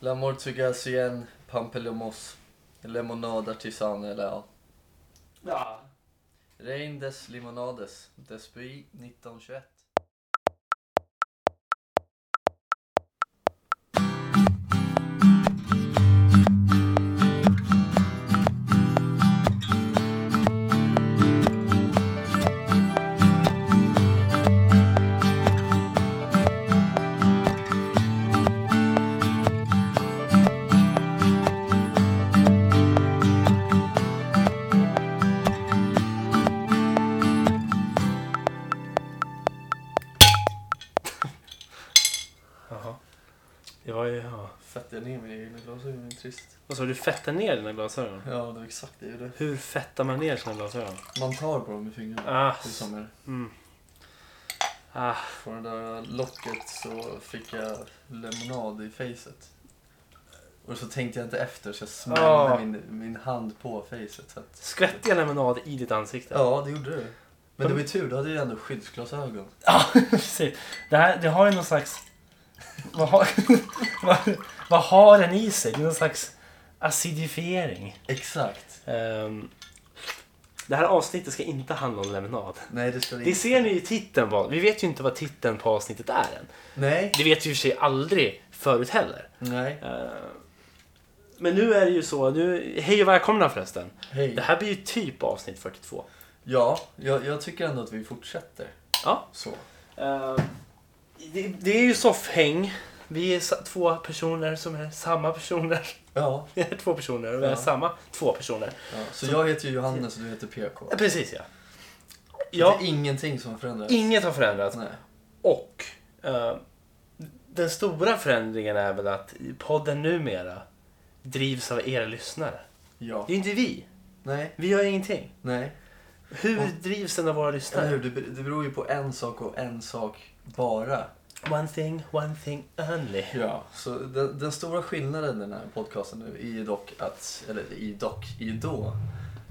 L'amour tsugasien, pampelomos, lemonade artisan eller ja. Ja. Rein des limonades, Despuy 1921. Jaha. Det var ju... Ja. Fettar ner mina egna glasögon, det är trist. Vad sa du? Du fettar ner dina glasögon? Ja, det var exakt det jag gjorde. Hur fettar man ner sina glasögon? Man tar på dem med fingrarna. Ah. Det är som är. Mm. Ah, Från det där locket så fick jag lemonad i facet. Och så tänkte jag inte efter så jag smällde Ah. min, min hand på facet. Så att... skvättiga lemonad i ditt ansikte. Ja, det gjorde det. Men det var ju tur, då hade jag ändå skyddsglasögon. Ja, precis. Det, här, det har ju någon slags... Vad har, vad, vad har den i sig? Det är någon slags acidifiering. Exakt. Ehm, det här avsnittet ska inte handla om lemonad. Nej, det ska det Det inte. ser ni i titeln. Vad, vi vet ju inte vad titeln på avsnittet är än. Nej. Det vet ju i och för sig aldrig förut heller. Nej. Ehm, men nu är det ju så. Nu, hej och välkomna förresten. Hej. Det här blir ju typ avsnitt 42. Ja, jag, jag tycker ändå att vi fortsätter. Ja. Så. Ehm. Eh, det, det är ju soffhäng. Vi är sa- två personer som är samma personer. Ja. Vi är två personer och vi är Ja. samma två personer. ja. Så jag heter ju Johannes och du heter PK. Eh, Precis ja. Ja. ja Det är ingenting som förändras. inget har förändrats. Nej. Och eh, den stora förändringen är väl att podden numera drivs av era lyssnare. Ja. Det är ju inte vi. Nej. Vi gör ingenting. Nej. Hur Ja. drivs den av våra Eller hur? lyssnare? Det ber- det beror ju på en sak och en sak bara. One thing, one thing only. Ja. Så den, den stora skillnaden i den här podcasten nu är ju dock att, eller i dock, i då,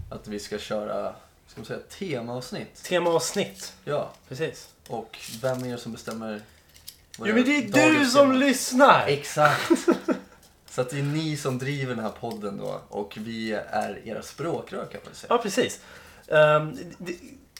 att vi ska köra, ska man säga, temaavsnitt. Temaavsnitt. Ja. Precis. Och vem är det som bestämmer? vad Jo är men det är dagens du som tema? lyssnar! Exakt. Så att det är ni som driver den här podden då och vi är era språkrör kan man säga. Ja, precis. Ehm, det,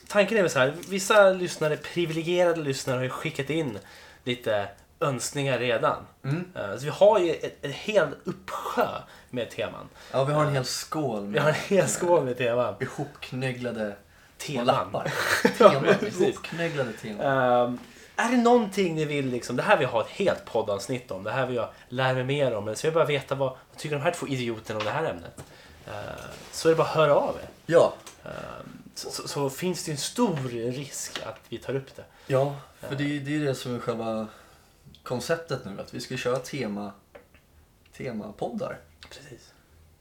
tanken är väl så här, vissa lyssnare, privilegierade lyssnare har ju skickat in lite önskningar redan. Mm. Eh, så vi har ju ett, ett hel uppsjö med teman. Ja, vi har en hel skål med eh, Vi har en hel skål med teman. ihopknögglade Teman. lappar. Ja, teman. precis. ihopknögglade teman. Ehm, är det någonting ni vill, liksom, det här vill jag ha ett helt poddavsnitt om, det här vill jag lära mig mer om, eller så vill jag bara veta vad, vad tycker de här två idioterna om det här ämnet? Ehm, så är det bara att höra av er. Ja, Ehm, så, så, så finns det ju en stor risk att vi tar upp det. ja, för det är det, är det som är själva konceptet nu. Att vi ska köra tema, temapoddar Precis.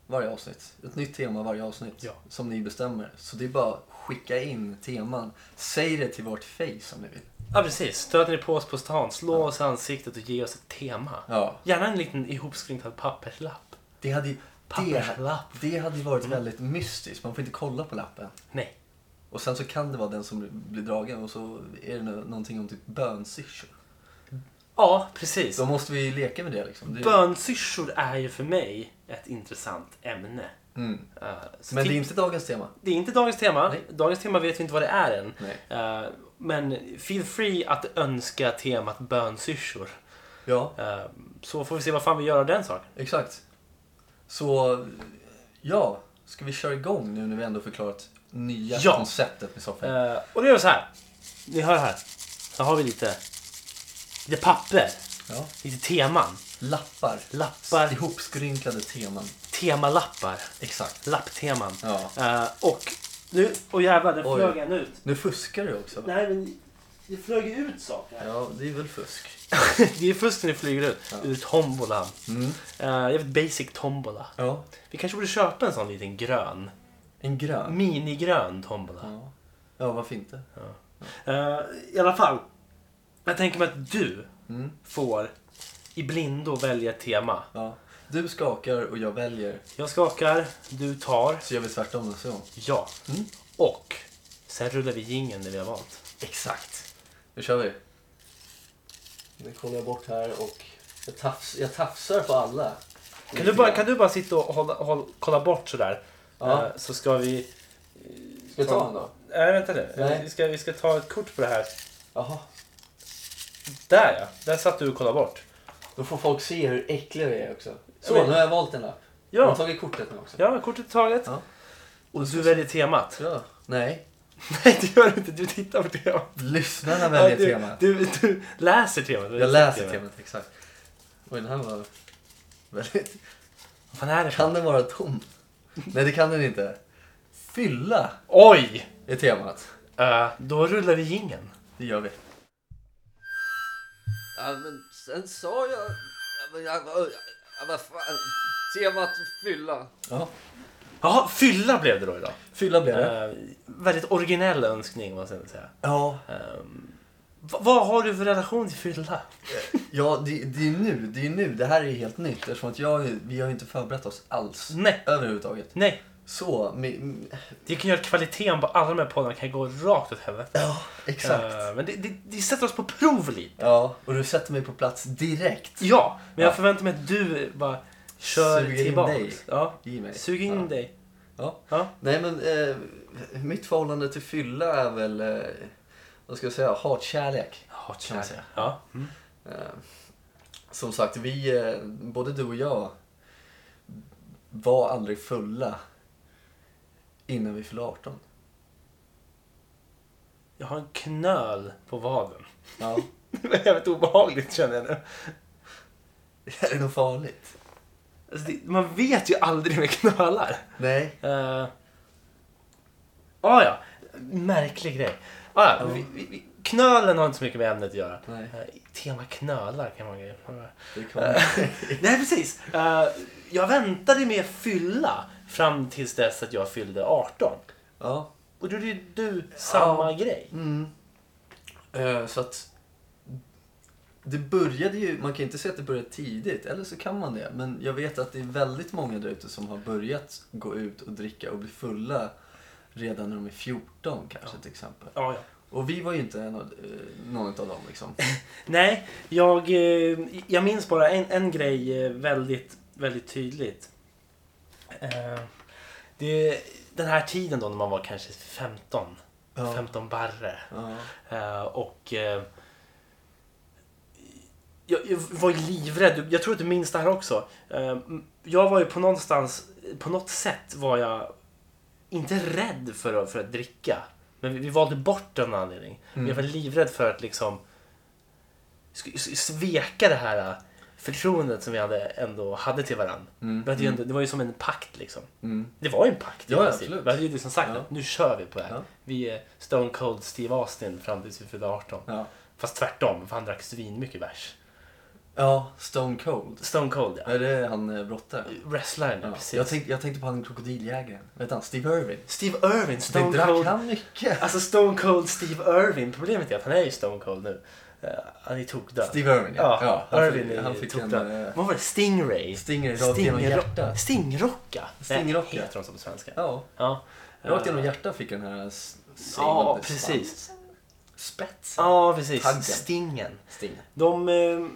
varje avsnitt. Ett nytt tema varje avsnitt Ja. som ni bestämmer. Så det är bara att skicka in teman. Säg det till vårt face om ni vill. Ja precis, stöter ni på oss på stan, slå oss i ansiktet och ge oss ett tema. Ja, Gärna en liten ihopskrintad papperslapp. Det hade ju det, Papperslapp. det hade ju varit väldigt mystiskt. Man får inte kolla på lappen. Nej. Och sen så kan det vara den som blir dragen och så är det nå- någonting om typ bönsyrsor. Ja, precis. Då måste vi ju leka med det liksom. Det, Bönsyrsor är ju för mig ett intressant ämne. mm. Eh, så Men det är tips- inte dagens tema. det är inte dagens tema. Nej. Dagens tema vet vi inte vad det är än. Nej. Eh, men feel free att önska temat bönsyrsor. Ja, Eh, så får vi se vad fan vi gör av den saken. exakt. Så, ja. Ska vi köra igång nu när vi ändå förklarat nya Ja. konceptet med soffan? Eh, och då gör vi så här. Ni hör här. Här har vi lite, lite papper. Ja. Lite teman. Lappar. Lappar. Ihopskrynklade teman. temalappar. Exakt. Lappteman. Ja. Eh, och nu, och jävlar, där Oj. flög en ut. Nu fuskar du också. Nej men, det flög ju ut saker. här. Ja, det är väl fusk. det är först när det flyger ut. Ja. Ur tombolan. Mm. Eh, jävligt basic tombola. Ja. Vi kanske borde köpa en sån liten grön. En grön. Minigrön tombola. Ja. ja, varför inte? Eh, I alla fall. Jag tänker mig att du Mm. får i blindo välja ett tema. Ja. Du skakar och jag väljer, Jag skakar, du tar. så gör vi tvärtom nästa gång. Ja. Mm. Och sen rullar vi jingeln det vi har valt. Exakt. Nu kör vi. Nu kollar jag bort här och Jag, tafs, jag tafsar på alla. Kan du bara, kan du bara sitta och hålla, hålla, kolla bort sådär? Ja. Eh, Så ska vi... Ska jag ta en då? Nej, vänta nu. Nej. Vi, ska, vi ska ta ett kort på det här. Jaha. Där ja! Där satt du och kollade bort. Då får folk se hur äckliga vi är också. Så, Jag vet. nu har jag valt en lapp. Jag har Ja, tagit kortet nu också. ja kortet är taget. Ja. Och du väljer temat. Ja. Nej. Nej, det gör du inte. Du tittar på temat. Lyssnarna väljer du, temat. Du, du läser temat. Jag läser temat, exakt. Oj, den här var väldigt... Vad fan är det? för- Kan den vara tom? Nej, det kan den inte. Fylla Oj! är temat. Eh, då rullar vi jingeln. Det gör vi. Ja, men sen sa jag... Vad fan? Temat fylla. Ja, Jaha, fylla blev det då idag. fylla blev det. Eh, väldigt originell önskning, vad ska jag säga. Ja, Ehm, v- vad har du för relation till fylla? ja det, det är nu. Det är nu. Det här är helt nytt eftersom att jag, vi har ju inte förberett oss alls. Nej, Överhuvudtaget. nej. Så, mi- m- Det kan göra att kvaliteten på alla de här poddarna kan gå rakt åt helvete. ja, exakt. Eh, men det, det, det sätter oss på prov lite. Ja, och du sätter mig på plats direkt. Ja, men Ja. jag förväntar mig att du bara kör Suger in tillbaks. dig. Ja. Ge mig. Sug in ja. dig. Ja. Ja. Nej men, eh, mitt förhållande till fylla är väl, eh, vad ska jag säga, hatkärlek. Hat kan man säga. Ja. Eh, som sagt, vi, eh, både du och jag, var aldrig fulla innan vi fyllde 18. Jag har en knöl på vaden. Ja. Det var jävligt obehagligt känner jag nu. Det är nog farligt. Alltså, det, man vet ju aldrig med knölar. Nej. Uh, ah, ja, märklig grej. Ah, ja. Vi, vi, vi, knölen har inte så mycket med ämnet att göra. Nej, Eh, tema knölar kan man ju... det kommer. Nej, precis. Eh, jag väntade med fylla fram tills dess att jag fyllde 18. Ja. Och då gjorde ju du samma grej. Mm. Eh, så att det började ju, man kan inte säga att det började tidigt, eller så kan man det. Men jag vet att det är väldigt många där ute som har börjat gå ut och dricka och bli fulla redan när de är 14 kanske till exempel. Ah, Ja, ja. Och vi var ju inte en av, eh, någon av dem liksom. Nej, jag, eh, jag minns bara en, en grej eh, väldigt, väldigt tydligt. Eh, Det, den här tiden då när man var kanske 15, Ja. 15 barre. Ja. Eh, Och eh, jag, jag var ju livrädd. Jag tror att du minns det här också. Eh, Jag var ju på någonstans, på något sätt var jag inte rädd för att, för att dricka. Men vi, vi valde bort den anledning. Men Mm. jag var livrädd för att liksom sk- s- sveka det här eh, förtroendet som vi hade ändå hade till varandra. Mm. Vi hade ju ändå, det var ju som en pakt liksom. Mm. Det var ju en pakt. i Ja, princip. absolut. Vi hade ju liksom sagt Ja. att nu kör vi på det här. Ja. Vi är Stone Cold Steve Austin fram tills vi fyllde 18. Ja. Fast tvärtom, för han drack svinmycket bärs. ja, Stone Cold. Stone Cold ja. Är det han eh, brottaren? Wrestlaren ja, Ja. precis. Jag, tänkte, jag tänkte på han krokodiljägaren. Vet han? Steve Irwin. Steve Irwin, Det Stone drack Cold. han mycket. Alltså Stone Cold Steve Irwin. Problemet är att han är ju Stone Cold nu. Eh, han är tokdöd. Steve Irwin, ja. Ja, Ja, han fick- Irwin är han fick en, tokdöd. eh, Vad var det? Stingray? Stinger rakt genom Stingra- hjärtat. Stingrocka? Stingrocka. Nej, heter de så på svenska? Ja, Ja. rakt genom Eh, hjärtat fick den här s- Ja, singande precis. svans. Spetsen. Ja, precis. Taggen. Stingen. Sting. De, eh,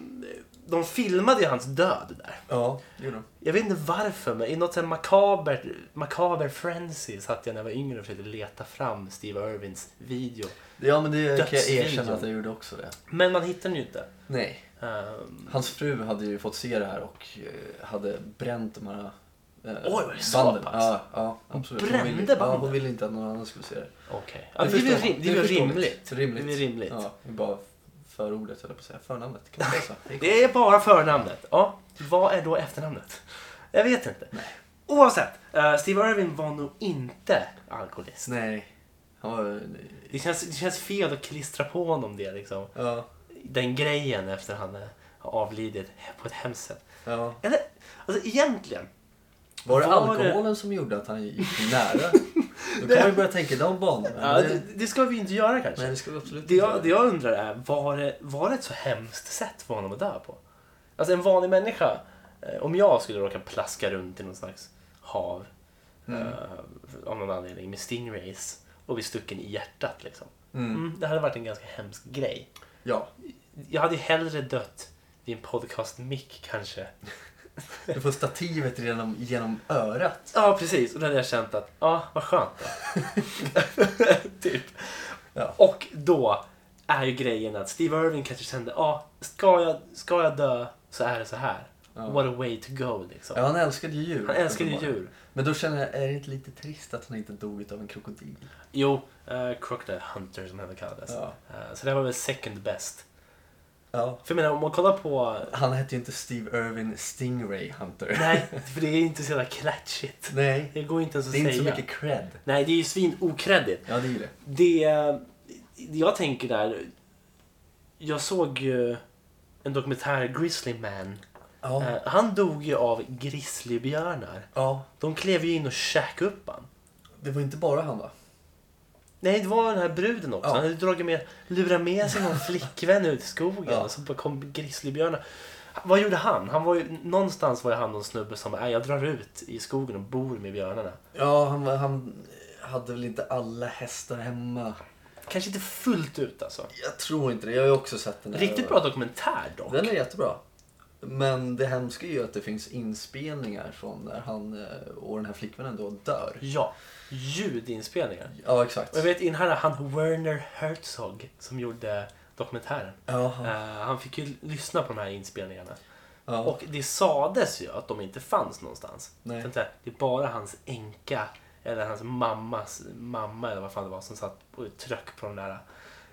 de filmade ju hans död där. Ja, det gjorde de. Jag vet inte varför, men i något sånt makaber, makaber frenzy satt jag när jag var yngre och försökte leta fram Steve Irwins video. Ja, men det kan jag Dödsvideon. erkänna att jag gjorde också det. Men man hittar den ju inte. Nej. Ehm, Hans fru hade ju fått se det här och eh, hade bränt de här eh, Oj, var det så pass? Ja, ja, absolut. brände ville, ja, banden? hon ville inte att någon annan skulle se det. Okej. Ja, det förstår är väl man. rim- det är väl förståeligt. rimligt. Rimligt. Det är rimligt. Ja, det är bara förordet höll jag på att säga. Förnamnet kan man säga. så. är Det är bara förnamnet. Ja, vad är då efternamnet? Jag vet inte. Oavsett, eh, Steve Irwin var nog inte alkoholist. Nej. Han var... Det känns, det känns fel att klistra på honom det liksom. Ja. Den grejen efter han eh, har avlidit på ett hemskt sätt. ja. Eller, alltså egentligen. Var det Var alkoholen som gjorde att han gick nära? Då kan man ju börja tänka i de banorna. Ja, Men det, det- det ska vi inte göra kanske. Nej, det ska vi absolut inte Det göra. jag, det jag undrar är, var det, var det ett så hemskt sätt för honom att dö på? Alltså en vanlig människa, eh, om jag skulle råka plaska runt i någon slags hav Mm. eh, av någon anledning med stingrays och bli stucken i hjärtat liksom. Mm. Mm, det hade varit en ganska hemsk grej. Ja, Jag hade ju hellre dött din podcast-mick kanske. Du får stativet genom, genom örat. Ja, precis. Och då hade jag känt att, ja, vad skönt då. typ. Ja. Och då är ju grejen att Steve Irving kanske kände, ja, ska jag, ska jag dö så är det så här. Ja. What a way to go liksom. Ja, han älskade ju djur. Han älskade ju uppenbarligen. djur. Men då känner jag, är det inte lite trist att han inte dog av en krokodil? Jo, uh, Crocodile Hunter som han kallades. Ja. Eh, så det här var väl second best. ja. För jag menar, om man kollar på... Han hette ju inte Steve Irwin Stingray Hunter. Nej, för det är inte så jävla klatschigt. Nej, Det går inte ens att det är säga. inte så mycket cred. Nej, det är ju svin okreddigt. Ja, det är ju det. Det eh, jag tänker där... Jag såg ju en dokumentär, Grizzly Man. Ja. Eh, Han dog ju av grizzlybjörnar. ja, De klev ju in och käkade upp han. det var inte bara han va? Nej, det var den här bruden också. Ja. Han hade dragit med, lurat med sig någon flickvän ut i skogen Ja. och så bara kom grizzlybjörnar. Vad gjorde han? han var ju, någonstans var ju han någon snubbe som bara, "Nej, jag drar ut i skogen och bor med björnarna. Ja, han, var- han hade väl inte alla hästar hemma. Kanske inte fullt ut alltså. Jag tror inte det. Jag har ju också sett den. här. Riktigt bra dokumentär dock. Den är jättebra. Men det hemska är ju att det finns inspelningar från när han eh, och den här flickvännen då dör. Ja, ljudinspelningar. Ja, exakt. Och jag vet innan han Werner Herzog som gjorde dokumentären. Ja, Eh, han fick ju lyssna på de här inspelningarna. ja. Och det sades ju att de inte fanns någonstans. Nej. Utan så här, Det är bara hans änka eller hans mammas mamma eller vad fan det var som satt och tryck på de där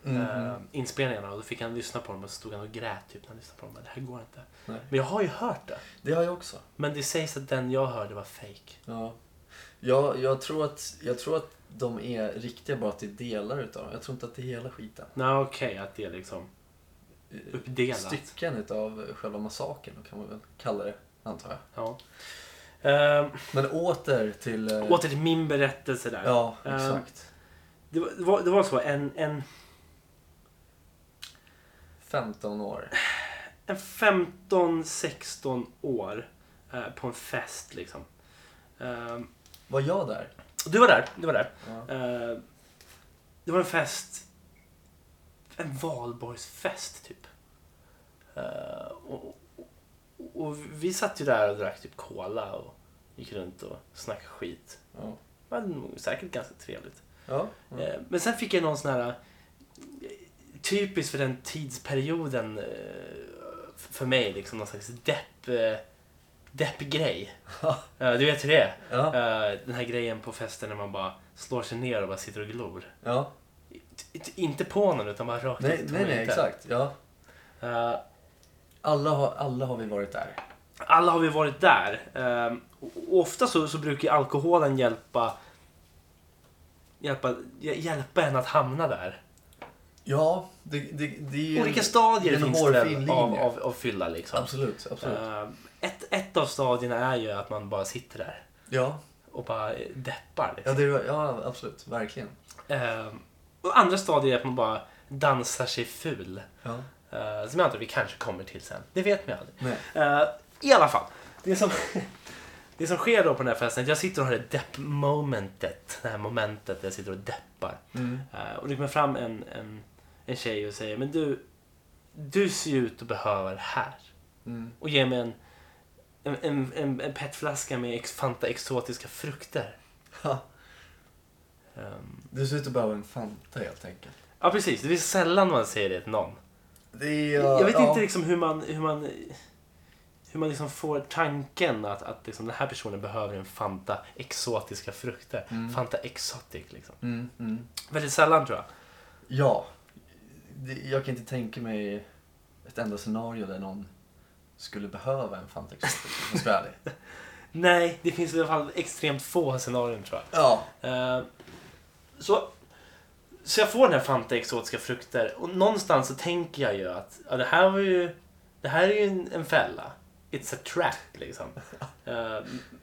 Mm-hmm. eh, Mm. inspelningarna. Och då fick han lyssna på dem och så stod han och grät typ när han lyssnade på dem. Det här går inte. Nej. Men jag har ju hört det. det har jag också. Men det sägs att den jag hörde var fake. Ja. Jag, jag, tror att, jag tror att de är riktiga bara till delar utav dem. Jag tror inte att det är hela skiten. Nej okej, att det är liksom uppdelat. Stycken utav själva massakern kan man väl kalla det, antar jag. Ja. Ehm, Men åter till... eh, åter till min berättelse där. Ja, Ehm, exakt. Det, var- det, var, det var så, en, en, 15 år. en 15-16 år eh, på en fest liksom. Ehm, Var jag där? och du var där, du var där. Ja. Ehm, det var en fest, en valborgsfest typ. Ehm, och, och, och vi satt ju där och drack typ cola och gick runt och snackade skit. Ja. Det var nog säkert ganska trevligt. ja. Mm. Eh, Men sen fick jag någon sån här... eh, Typiskt för den tidsperioden eh, f- för mig, liksom någon slags depp, eh, deppgrej. Eh, Du vet hur det är. Ja. Eh, Den här grejen på festen när man bara slår sig ner och bara sitter och glor. ja. T- t- Inte på någon utan bara rakt ut Nej, i nej, nej, tomheten. exakt. Ja. Eh, Alla har, alla har vi varit där. alla har vi varit där. Ehm, och- och ofta så, så brukar ju alkoholen hjälpa, hjälpa, hj- hjälpa en att hamna där. Ja, det, det, det är ju... Olika stadier en finns det hårfin väl av, linje. av, av fylla liksom. Absolut, absolut. Eh, ett, ett av stadierna är ju att man bara sitter där Ja. och bara eh, deppar. Ja, Liksom. det, ja, absolut. Verkligen. Eh, och andra stadier är att man bara dansar sig ful. Ja. Eh, som jag antar vi kanske kommer till sen. Det vet man ju aldrig. Nej. Eh, I alla fall. Det som, det som sker då på den här festen är att jag sitter och har det depp-momentet. Det här momentet där jag sitter och deppar. Mm. Eh, och det kommer fram en, en, en tjej och säger Men du, du ser ju ut att behöva det här. Mm. och ge mig en, en, en, en, en petflaska med ex, Fanta exotiska frukter. Ha. Ehm, Du ser ut att behöva en Fanta helt enkelt. ja, precis. Det är sällan man säger det till någon. Det är, jag vet ja. inte liksom hur man, hur man, hur man liksom får tanken att, att liksom den här personen behöver en Fanta exotiska frukter. Fanta exotic, liksom. Mm, mm. Väldigt sällan, tror jag. Ja. Det, jag kan inte tänka mig ett enda scenario där någon skulle behöva en Fanta Exotic, om jag ska vara ärlig. Nej, det finns i alla fall extremt få scenarion, tror jag. Ja. Eh, så, så jag får den här Fanta exotiska frukter och någonstans så tänker jag ju att ja, det här var ju det här är ju en, en fälla. It's a trap liksom. Eh,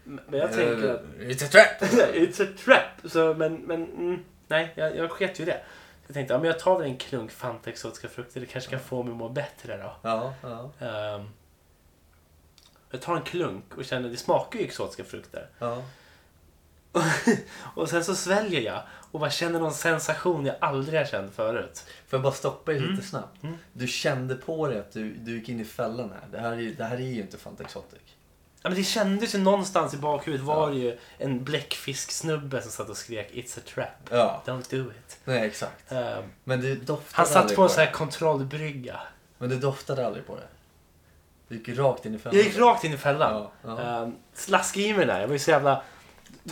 m- men jag tänker att Eh, It's a trap! It's a trap! Så, men, men mm, nej, jag, jag sket ju i det. Så jag tänkte ja, men jag tar väl en klunk Fanta exotiska frukter. Det kanske kan få mig att må bättre då. Ja, ja, Eh, jag tar en klunk och känner det smakar ju exotiska frukter. ja. och sen så sväljer jag och bara känner någon sensation jag aldrig har känt förut. Får jag bara stoppa dig lite snabbt? Mm. Du kände på dig att du, du gick in i fällan här. Det här är, ju- det här är ju inte Fantaxotic. Ja, men det kändes ju någonstans i bakhuvudet var det ju en bläckfisksnubbe som satt och skrek It's a trap. Ja, Don't do it. nej exakt. Ehm, Men du doftade han satt aldrig på en det. sån här kontrollbrygga. Men du doftade aldrig på det. Du gick rakt in i fällan. Jag gick rakt in i fällan. Ja, ja. Ehm, slaskade i mig där. Jag var ju så jävla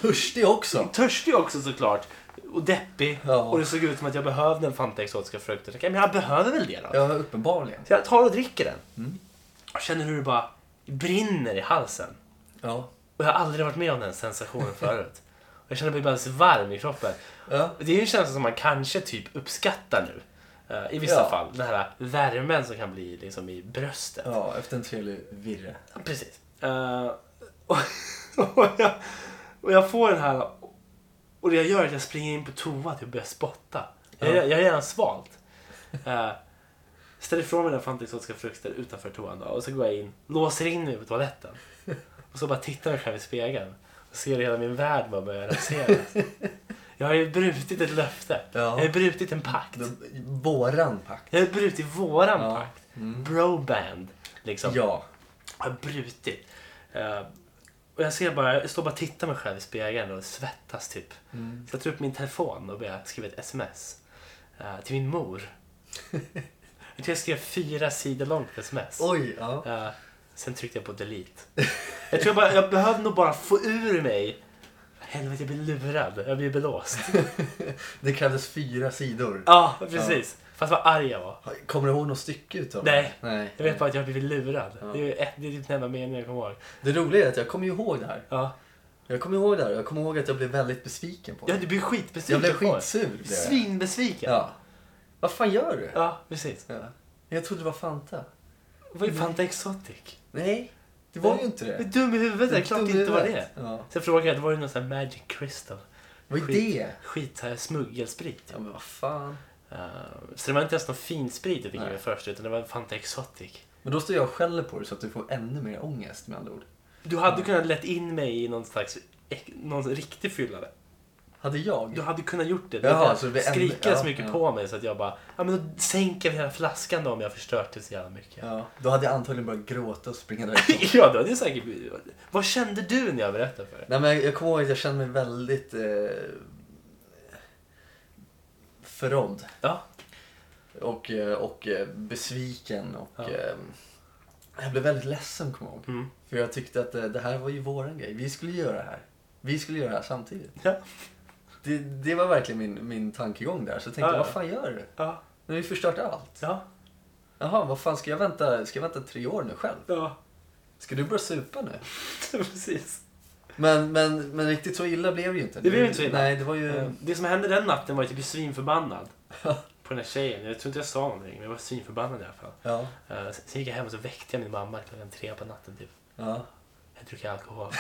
Törstig också. törstig också såklart. Och deppig. Ja. Och det såg ut som att jag behövde en Fanta Exotiska frukt. Jag tänkte, men jag behöver väl det då. Ja, uppenbarligen. Så jag tar och dricker den. Mm. Och känner hur det bara brinner i halsen. Ja. Och jag har aldrig varit med om den sensationen förut. Och jag känner mig bara så varm i kroppen. ja. Det är ju en känsla som man kanske typ uppskattar nu. eh, I vissa Ja. fall. Den här värmen som kan bli liksom i bröstet. Ja, efter en trevlig virre. Ja, Precis. Eh, och, och, jag, och jag får den här och det jag gör är att jag springer in på toa typ, och börjar spotta. Jag, Ja. jag har redan svalt. Uh, ställer ifrån mig den fantastiska frukten utanför toan då, och så går jag in, låser in mig på toaletten. Och så bara tittar jag mig själv i spegeln och ser hela min värld bara börja raseras. Jag har ju brutit ett löfte. Ja. Jag har ju brutit en pakt. De- Våran pakt. Jag har ju brutit våran Ja. Mm. pakt. Broband. Liksom Ja. har brutit. Eh, och jag ser bara, jag står bara och tittar mig själv i spegeln och svettas typ. Mm. Så jag tar upp min telefon och börjar skriva ett sms. eh, till min mor. jag tror jag skrev fyra sidor långt sms. Oj, ja. Eh, sen tryckte jag på delete. jag tror jag, bara, jag behövde nog bara få ur mig. Helvete, jag blir lurad. Jag blir belåst. Det krävdes fyra sidor. ja, precis. Fast vad arg jag var. Kommer du ihåg något stycke utav Nej. det? Nej. Jag vet bara att jag har blivit lurad. Ja. Det är ju ett- det är typ den enda meningen jag kommer ihåg. Det roliga är att jag kommer ju ihåg det här. Ja. Jag kommer ihåg det här och jag kommer ihåg att jag blev väldigt besviken på Ja, det. du blir skitbesviken. Jag blev på det. skitsur. blev jag. Svinbesviken. Ja. Vad fan gör du? Ja, precis. Ja. Jag trodde det var Fanta. Vad är Fanta Exotic? Nej, Mm. det var ju inte Du är det. dum i huvudet, det är klart det inte var det. Ja. Sen frågade jag, det var ju någon sån här Magic Crystal. Vad är Skit. det? Skit så här smuggelsprit. Ja, men vad fan. Eh, så det var inte ens någon fin sprit jag fick i Nej. mig först, utan det var en Fanta Exotic. Men då står jag och skäller på dig så att du får ännu mer ångest med andra ord. Du Mm. hade kunnat lett in mig i någon slags ek- någon riktig fyllare. Hade jag? Du hade kunnat gjort det. Du Jaha, hade så det blir en- skrika ja, så mycket ja. på mig så att jag bara, ja men då sänker vi hela flaskan då om jag har förstört det så jävla mycket. Ja, då hade jag antagligen börjat gråta och springa därifrån. ja, då hade jag säkert blivit... Vad kände du när jag berättade för dig? Nej, men jag, jag kommer ihåg att jag kände mig väldigt eh, förrådd Ja, och, eh, och eh, besviken. Och, Ja. eh, jag blev väldigt ledsen, kommer jag ihåg. Mm. För jag tyckte att eh, det här var ju våran grej. Vi skulle göra det här. Vi skulle göra det här samtidigt. Ja. Det, det var verkligen min, min tankegång där. Så jag tänkte, Ja, ja. vad fan gör du? ja, Nu har vi förstört allt. ja. Jaha, vad fan ska jag vänta? Ska jag vänta tre år nu själv? ja. Ska du börja supa nu? Precis. Men, men, men riktigt så illa blev det ju inte. Det blev inte så illa. Nej, det var ju... Eh, Det som hände den natten var att jag blev svinförbannad på den här tjejen. Jag tror inte jag sa någonting, men jag var svinförbannad i alla fall. Ja, Eh, Sen sen gick jag hem och så väckte jag min mamma klockan tre på natten typ. ja. Jag druckit alkohol.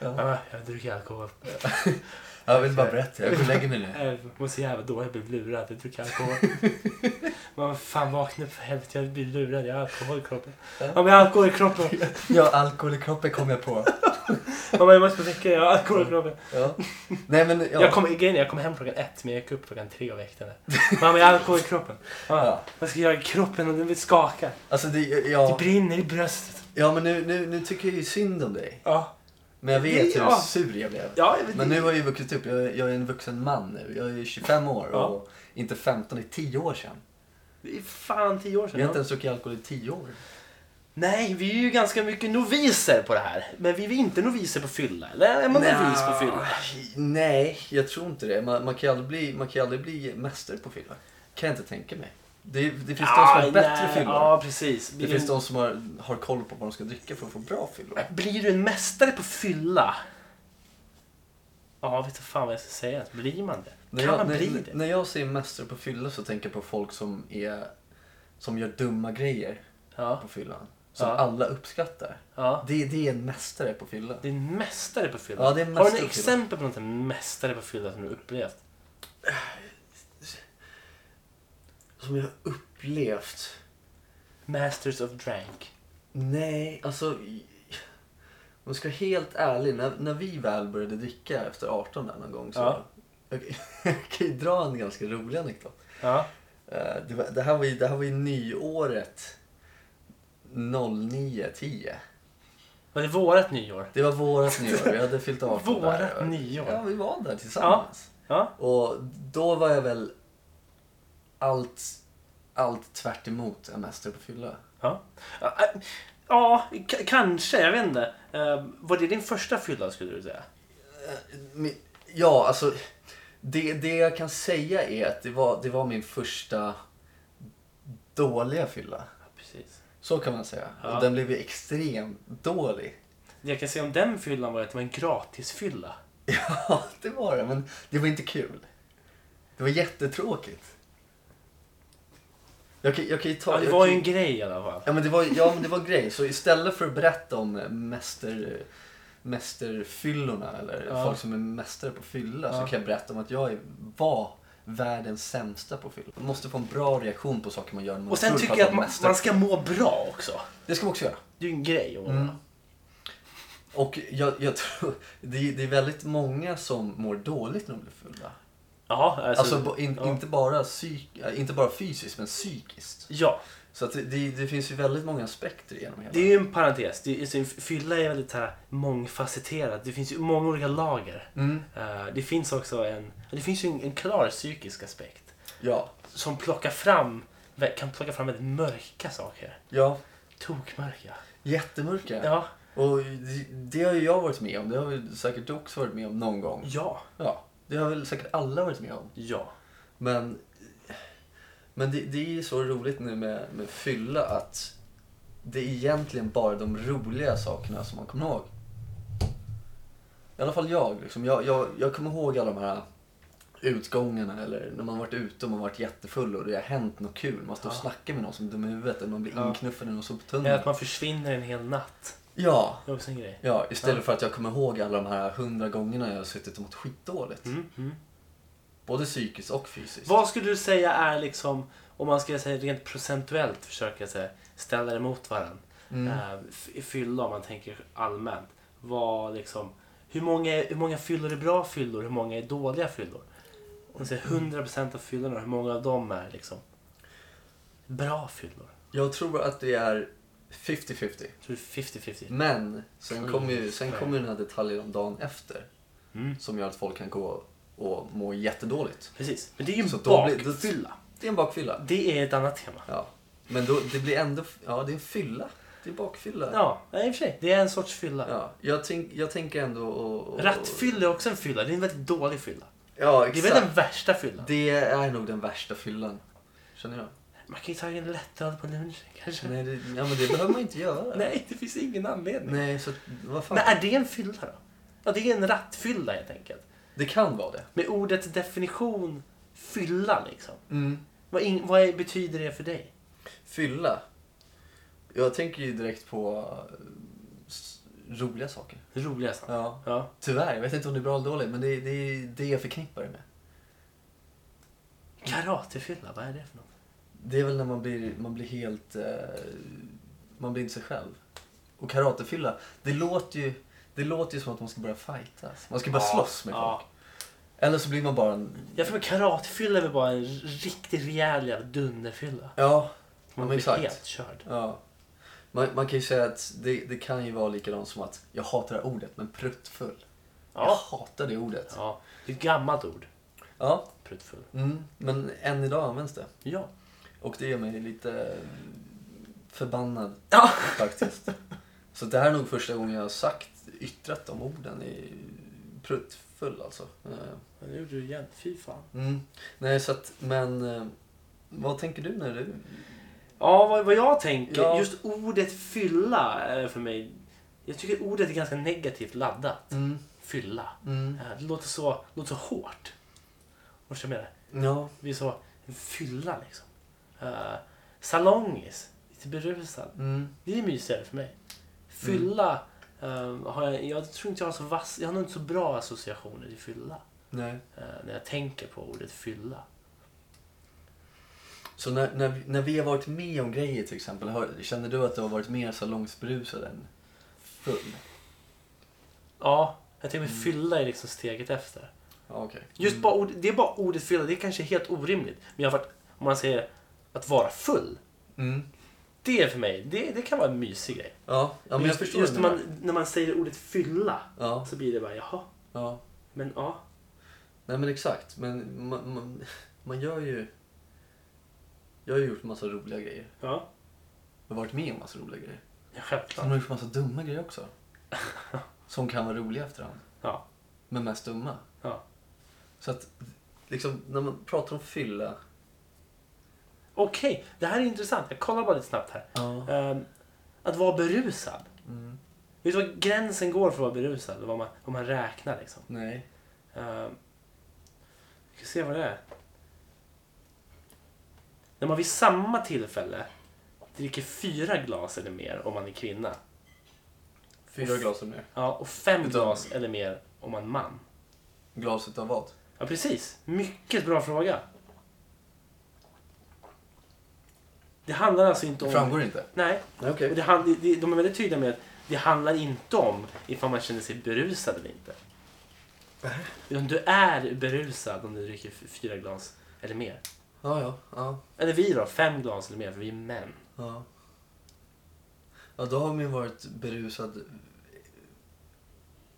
Ja. Mamma, jag har druckit alkohol. Jag vill bara berätta, jag går och lägger mig nu. Jag mår så jävla dåligt, jag blev lurad. Jag har druckit alkohol. Mamma, fan vakna för helvete. Jag blir lurad. Jag har alkohol i kroppen. Ja. Mamma, jag har alkohol i kroppen. Jag har alkohol i kroppen kom jag på. Mamma, jag måste väcka dig. Jag har alkohol i kroppen. Ja. Nej men, ja. Jag kom, grejen är, jag kom hem klockan ett men jag gick upp klockan tre och väckte henne. Mamma, jag har alkohol i kroppen. Mamma, Ja. Vad ska jag göra i kroppen? Och Den vill skaka. Alltså det, ja. Det brinner i bröstet. Ja men nu, nu, nu tycker jag ju synd om dig. Ja. Men jag vet hur Ja. sur jag blev. Ja, jag vet Men inte. nu har jag ju vuxit upp, jag, är- jag är en vuxen man nu. Jag är ju 25 år Ja. och inte 15, det är 10 år sedan. Det är fan tio år sedan. Jag har ja. inte ens druckit alkohol i 10 år. Nej, vi är ju ganska mycket noviser på det här. Men vi är inte noviser på fylla. Eller är man Nja, novis på fylla? Nej, jag tror inte det. Man, man, kan, ju aldrig bli, man kan ju aldrig bli mästare på fylla. Kan jag inte tänka mig. Det, det finns de som Aj, har bättre Ah, nej. fyllor. Ja, precis. Det Blir, finns de som har, har koll på vad de ska dricka för att få bra fyllor. blir du en mästare på fylla? Ja, vet du fan vad jag ska säga. Blir man det? När Kan jag, man bli när, det? när jag säger mästare på fylla så tänker jag på folk som, är, som gör dumma grejer Ja, på fyllan. Som Ja. alla uppskattar. ja. Det, det är en mästare på fylla. Det är en mästare på fylla. Ja, det är en Har mästare du några på fylla. exempel på något en mästare på fylla som du upplevt? Som jag har upplevt. Masters of Drank. Nej, alltså... Om jag ska vara helt ärlig, när, när vi väl började dricka efter 18 där någon gång så... Ja. Jag, jag kan ju dra en ganska rolig anekdot. Ja. Eh, Det, var, det, här var ju, det här var ju nyåret 09.10. Men det är vårat nyår. Det var vårat nyår, vi hade fyllt 18 där. Vårat nyår. Ja, vi var där tillsammans. Ja. Och då var jag väl allt, allt tvärt emot en mästare på fylla. Ja, ja, äh, ja k- kanske. Jag vet inte. Eh, var det din första fylla skulle du säga? Men- Ja, alltså. Det, det jag kan säga är att det var, det var min första dåliga fylla. Ja, precis. Så kan man säga. Ja. Och den blev ju extremt dålig. Det jag kan säga om den fyllan var att det var en gratisfylla. Ja, det var det. Men det var inte kul. Det var jättetråkigt. Jag kan, jag kan ju ta... Ja, det jag var kan- ju en grej i alla fall. Ja men det var, ja, men det var grej. Så istället för att berätta om eh, mäster, mästerfyllorna eller Ja. folk som är mästare på fylla Ja. så kan jag berätta om att jag är, var världens sämsta på fylla. Man måste få en bra reaktion på saker man gör när man Och sen är full tycker för jag att att man är man, mästare. man ska må bra också. Det ska man också göra. Det är ju en grej. Och, Mm. Och jag, jag tror, det, är- det är väldigt många som mår dåligt när de blir fulla. Ja, alltså, Alltså, bo- in, ja. inte, bara psyk, äh, inte bara fysiskt men psykiskt. ja, Så att det, det, det finns ju väldigt många aspekter genom hela. det är ju en parentes. Det är, alltså, fylla är väldigt så här, mångfacetterat. Det finns ju många olika lager. Mm, Eh, det finns också en, det finns ju en, en klar psykisk aspekt. ja, som plockar fram, kan plocka fram väldigt mörka saker. ja, Tokmörka. jättemörka. Ja. Och det, det har ju jag varit med om. Det har väl säkert du också varit med om någon gång. Ja. Ja, det har väl säkert alla varit med om. Ja. Men, men det, det är ju så roligt nu med, med fylla att det är egentligen bara de roliga sakerna som man kommer ihåg. I alla fall jag. Liksom. Jag, jag, jag kommer ihåg alla de här utgångarna eller när man varit ute och man varit jättefull och det har hänt något kul. Man står och Ja. snackar med någon som är dum i huvudet eller man blir Ja. inknuffad i någon Eller soptunna. att man försvinner en hel natt. Ja, Det är också en grej. Ja, istället för att jag kommer ihåg alla de här hundra gångerna jag har suttit och mått skitdåligt. Mm. Mm. Både psykiskt och fysiskt. Vad skulle du säga är liksom, om man ska säga rent procentuellt försöka så här, ställa det mot varandra. Mm. Eh, f- fylla om man tänker allmänt. Vad liksom, hur många, hur många fyllor är bra fyllor? Hur många är dåliga fyllor? Om man säger Mm. 100% av fyllorna, hur många av dem är liksom bra fyllor? Jag tror att det är 50-50. Jag tror det är 50-50. Men sen Mm. kommer ju, sen kom ju den här detaljen om dagen efter Mm. som gör att folk kan gå och må jättedåligt. Precis, men det är ju Så en då blir- då- bakfylla. Det är en bakfylla. Det är ett annat tema. Ja. Men då, det blir ändå, ja det är en fylla. Det är bakfylla. Ja, nej, i och för sig. Det är en sorts fylla. Ja, jag, tänk, jag tänker ändå och, och, Rattfylla är också en fylla. Det är en väldigt dålig fylla. Ja, Det är väl den exakt. värsta fyllan. Det är nog den värsta fyllan. Känner jag. Man kan ju ta en lättöl på lunchen kanske. Nej, det, ja, men det behöver man inte göra. Nej, det finns ingen anledning. Nej, så att- vad fan. Men är det en fylla då? Ja, det är en rattfylla helt enkelt. Det kan vara det. Med ordets definition fylla liksom. Mm. Vad, in, vad är, betyder det för dig? Fylla. Jag tänker ju direkt på eh, s- roliga saker. Roliga saker. Ja. Ja. Tyvärr, jag vet inte om det är bra eller dåligt, men det är det, är det jag förknippar det med. Karatefylla, vad är det för något? Det är väl när man blir, man blir helt... Eh, man blir inte sig själv. Och karatefylla, det låter ju... Det låter ju som att man ska börja fightas. Man ska bara Ja, slåss med folk. ja. Eller så blir man bara en... Jag får mig karatefylla är väl bara en riktigt rejäl jävla dunderfylla. Ja, Man men blir exakt. helt körd. ja. Man, man kan ju säga att det, det kan ju vara likadant som att jag hatar det här ordet, men pruttfull. Jag Ja. hatar det ordet. ja. Det är ett gammalt ord. Ja, Pruttfull. mm, men än idag används det. Ja. Och det gör mig lite förbannad Ja. faktiskt. Så det här är nog första gången jag har sagt, yttrat de orden i pruttfull alltså. Eh, Men nu gjorde du igen. Fy fan. Mm. Nej, så att, men eh, vad tänker du när du... Ja, vad, vad jag tänker. Ja. Just ordet fylla är för mig. Jag tycker ordet är ganska negativt laddat. Mm, Fylla. mm. Eh, Det låter så, låter så hårt. Och så menar Ja, Vi är så en fylla liksom. Eh, salongis. Lite berusad. mm. Det är mysigare för mig. Fylla. eh, har jag, jag tror inte jag har så vass, jag har nog inte så bra associationer till fylla. nej. eh, när jag tänker på ordet fylla. Så när, när, när vi har varit med om grejer till exempel, har, känner du att du har varit mer salongsberusad än full? Ja, jag tänker mig fylla är liksom steget efter. Ja, okej. Just bara ord, det är bara ordet fylla, det är kanske helt orimligt. Men jag har varit, om man säger att vara full. Mm. Det är för mig, det, det kan vara en mysig grej. Ja, ja, men jag just förstår just det när, där. man, när man säger ordet fylla Ja, så blir det bara jaha, ja. men ja. Nej men exakt, men man, man, man gör ju... Jag har ju gjort massa roliga grejer. ja. Jag har varit med om massa roliga grejer. Jag Sen skämtar. har jag gjort massa dumma grejer också. Som kan vara roliga efterhand. Ja. Men mest dumma. Ja. Så att, liksom, när man pratar om fylla... Okej, det här är intressant. Jag kollar bara lite snabbt här. Ja. Ehm, att vara berusad. Mm. Vet du var gränsen går för att vara berusad? Vad man, vad man räknar liksom. Nej. Ehm, vi ska se vad det är. När man vid samma tillfälle dricker fyra glas eller mer om man är kvinna. Fyra glas eller mer. Ja, och fem Utav- glas eller mer om man är man. Glas utav vad? Ja, precis. Mycket bra fråga. Det handlar alltså inte Det om... framgår inte. Nej, Nej, Och det hand, det- de är väldigt tydliga med att det handlar inte om ifall man känner sig berusad eller inte. Utan du är berusad om du dricker f- fyra glas eller mer. Ja, ja. ja, Eller vi då, fem glas eller mer för vi är män. ja. Ja, då har man ju varit berusad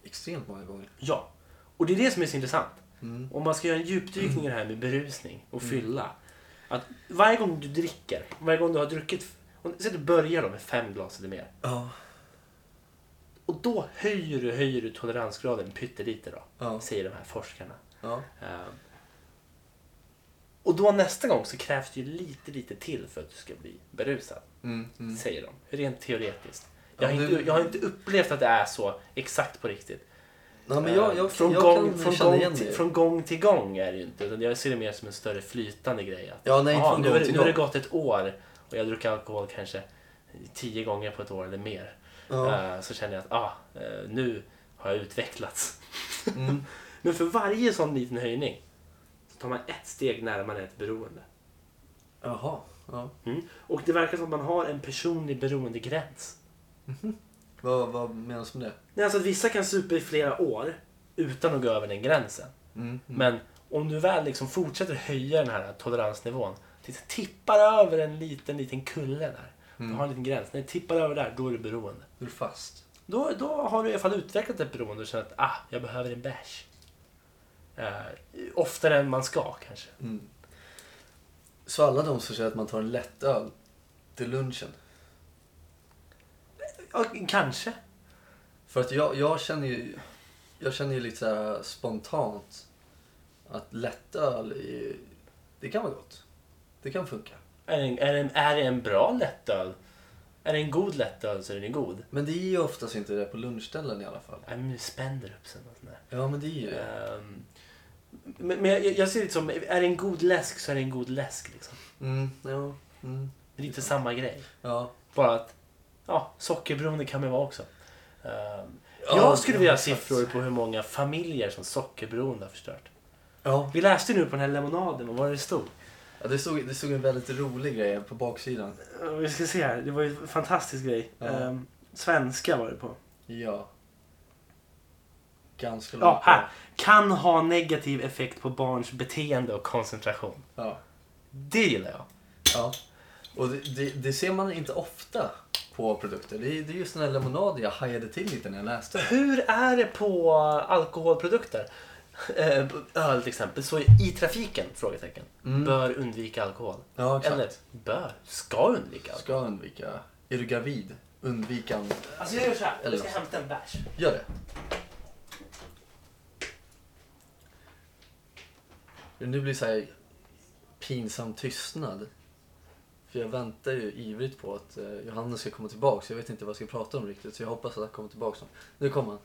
extremt många gånger. Ja. Och det är det som är så intressant. Mm. Om man ska göra en djupdykning i det här med berusning och fylla. Att varje gång du dricker, varje gång du har druckit, om- säg att du börjar då med fem glas eller mer. Ja. Och då höjer du, höjer du toleransgraden pyttelite då, Ja. säger de här forskarna. ja. Ehm, Och då nästa gång så krävs det ju lite, lite till för att du ska bli berusad, Mm. Mm. säger de. Rent teoretiskt. Jag har, Ja, inte, det- jag har inte upplevt att det är så exakt på riktigt. Nej, men jag, Ehm, jag, från, jag gång, kan från, känna gång igen till, det. från gång till gång är det ju inte. Utan jag ser det mer som en större flytande grej. Att, Ja, nej, "Jaha, från nu, gång har det- till nu har det gång." gått ett år och jag druckit alkohol kanske tio gånger på ett år eller mer. Ja. Ehm, så känner jag att ah, eh, nu har jag utvecklats. Mm. Men för varje sån liten höjning så tar man ett steg närmare ett beroende. Jaha. Ja. Mm. Och det verkar som att man har en personlig beroendegräns. Vad, vad menas med det? Nej, alltså att vissa kan supa i flera år utan att gå över den gränsen. Mm. Men om du väl liksom fortsätter höja den här toleransnivån, tills det tippar över en liten, liten kulle där. Du har en liten gräns. När det tippar över där, då är du beroende. Du är fast. Då, då har du i alla fall utvecklat ett beroende och känner att ah, jag behöver en bärs. Eh, oftare än man ska kanske. Mm. Så alla de som säger att man tar en lättöl till lunchen. Ja, kanske. För att jag, jag känner ju jag känner ju lite så här spontant att lättöl, är, det kan vara gott. Det kan funka. Är det, en- är, det, en- är det en bra lättöl? Är det en god lättöl så är den god. Men det är ju oftast inte det på lunchställen i alla fall. Ja, men Spenderupsen och sånt där. Ja, men det är ju det. Ehm, men men jag, jag ser det som, är det en god läsk så är det en god läsk. Liksom. Mm, ja, mm, Det är lite samma grej. ja. Bara att ja, sockerberoende kan man vara också. Ehm, Ja, jag skulle ja, vilja ha exakt. siffror på hur många familjer som sockerberoende har förstört. Ja, Vi läste ju nu på den här lemonaden, vad var det det stod? ja det, stod, det stod en väldigt rolig grej på baksidan. Eh, Vi ska se här, det var ju en fantastisk grej. Ja. Ehm, svenska var det på. Ja. Ganska långt Ja, här. bak. Kan ha negativ effekt på barns beteende och koncentration. Ja, Det gillar jag. ja. Och det, det, det ser man inte ofta på produkter. Det är, det är just den här lemonaden jag hajade till lite när jag läste den. Hur är det på alkoholprodukter? Eh, Öl till exempel. Så i trafiken? Frågetecken. Mm. Bör undvika alkohol. Ja, exakt. Eller bör, ska undvika alkohol. Ska undvika. Är du gravid? Undvik an... Alltså jag gör så här. jag ska hämta en bärs. Gör det. Nu blir det så här pinsam tystnad. För jag väntar ju ivrigt på att eh, Johannes ska komma tillbaka. Så jag vet inte vad jag ska prata om riktigt. Så jag hoppas att han kommer tillbaka snart. Nu kommer han.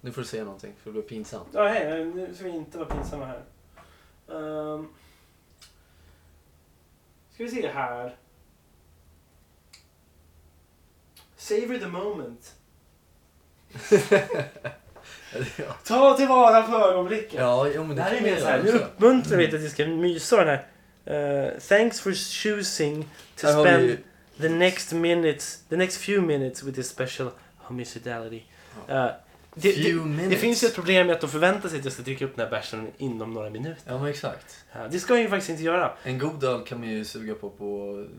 Nu får du säga någonting för det blir pinsamt. Ja, hej. Eh, Nu ska vi inte vara pinsamma här. Um, ska vi se här. Savor the moment. ja, Ta tillvara på ögonblicket. ja jo, men Det det, här är kan mer jag så här, nu göra också. uppmuntrar vi till att vi ska mysa den här. Eh, thanks for choosing to Här har spend vi ju- the next minutes, the next few minutes with this special homosexuality. Eh, Det, Few det, det minutes. finns ju ett problem med att de förväntar sig att jag ska dricka upp den här bärsen inom några minuter. Ja men exakt. Ja, Det ska jag ju faktiskt inte göra. En god öl kan man ju suga på på eh,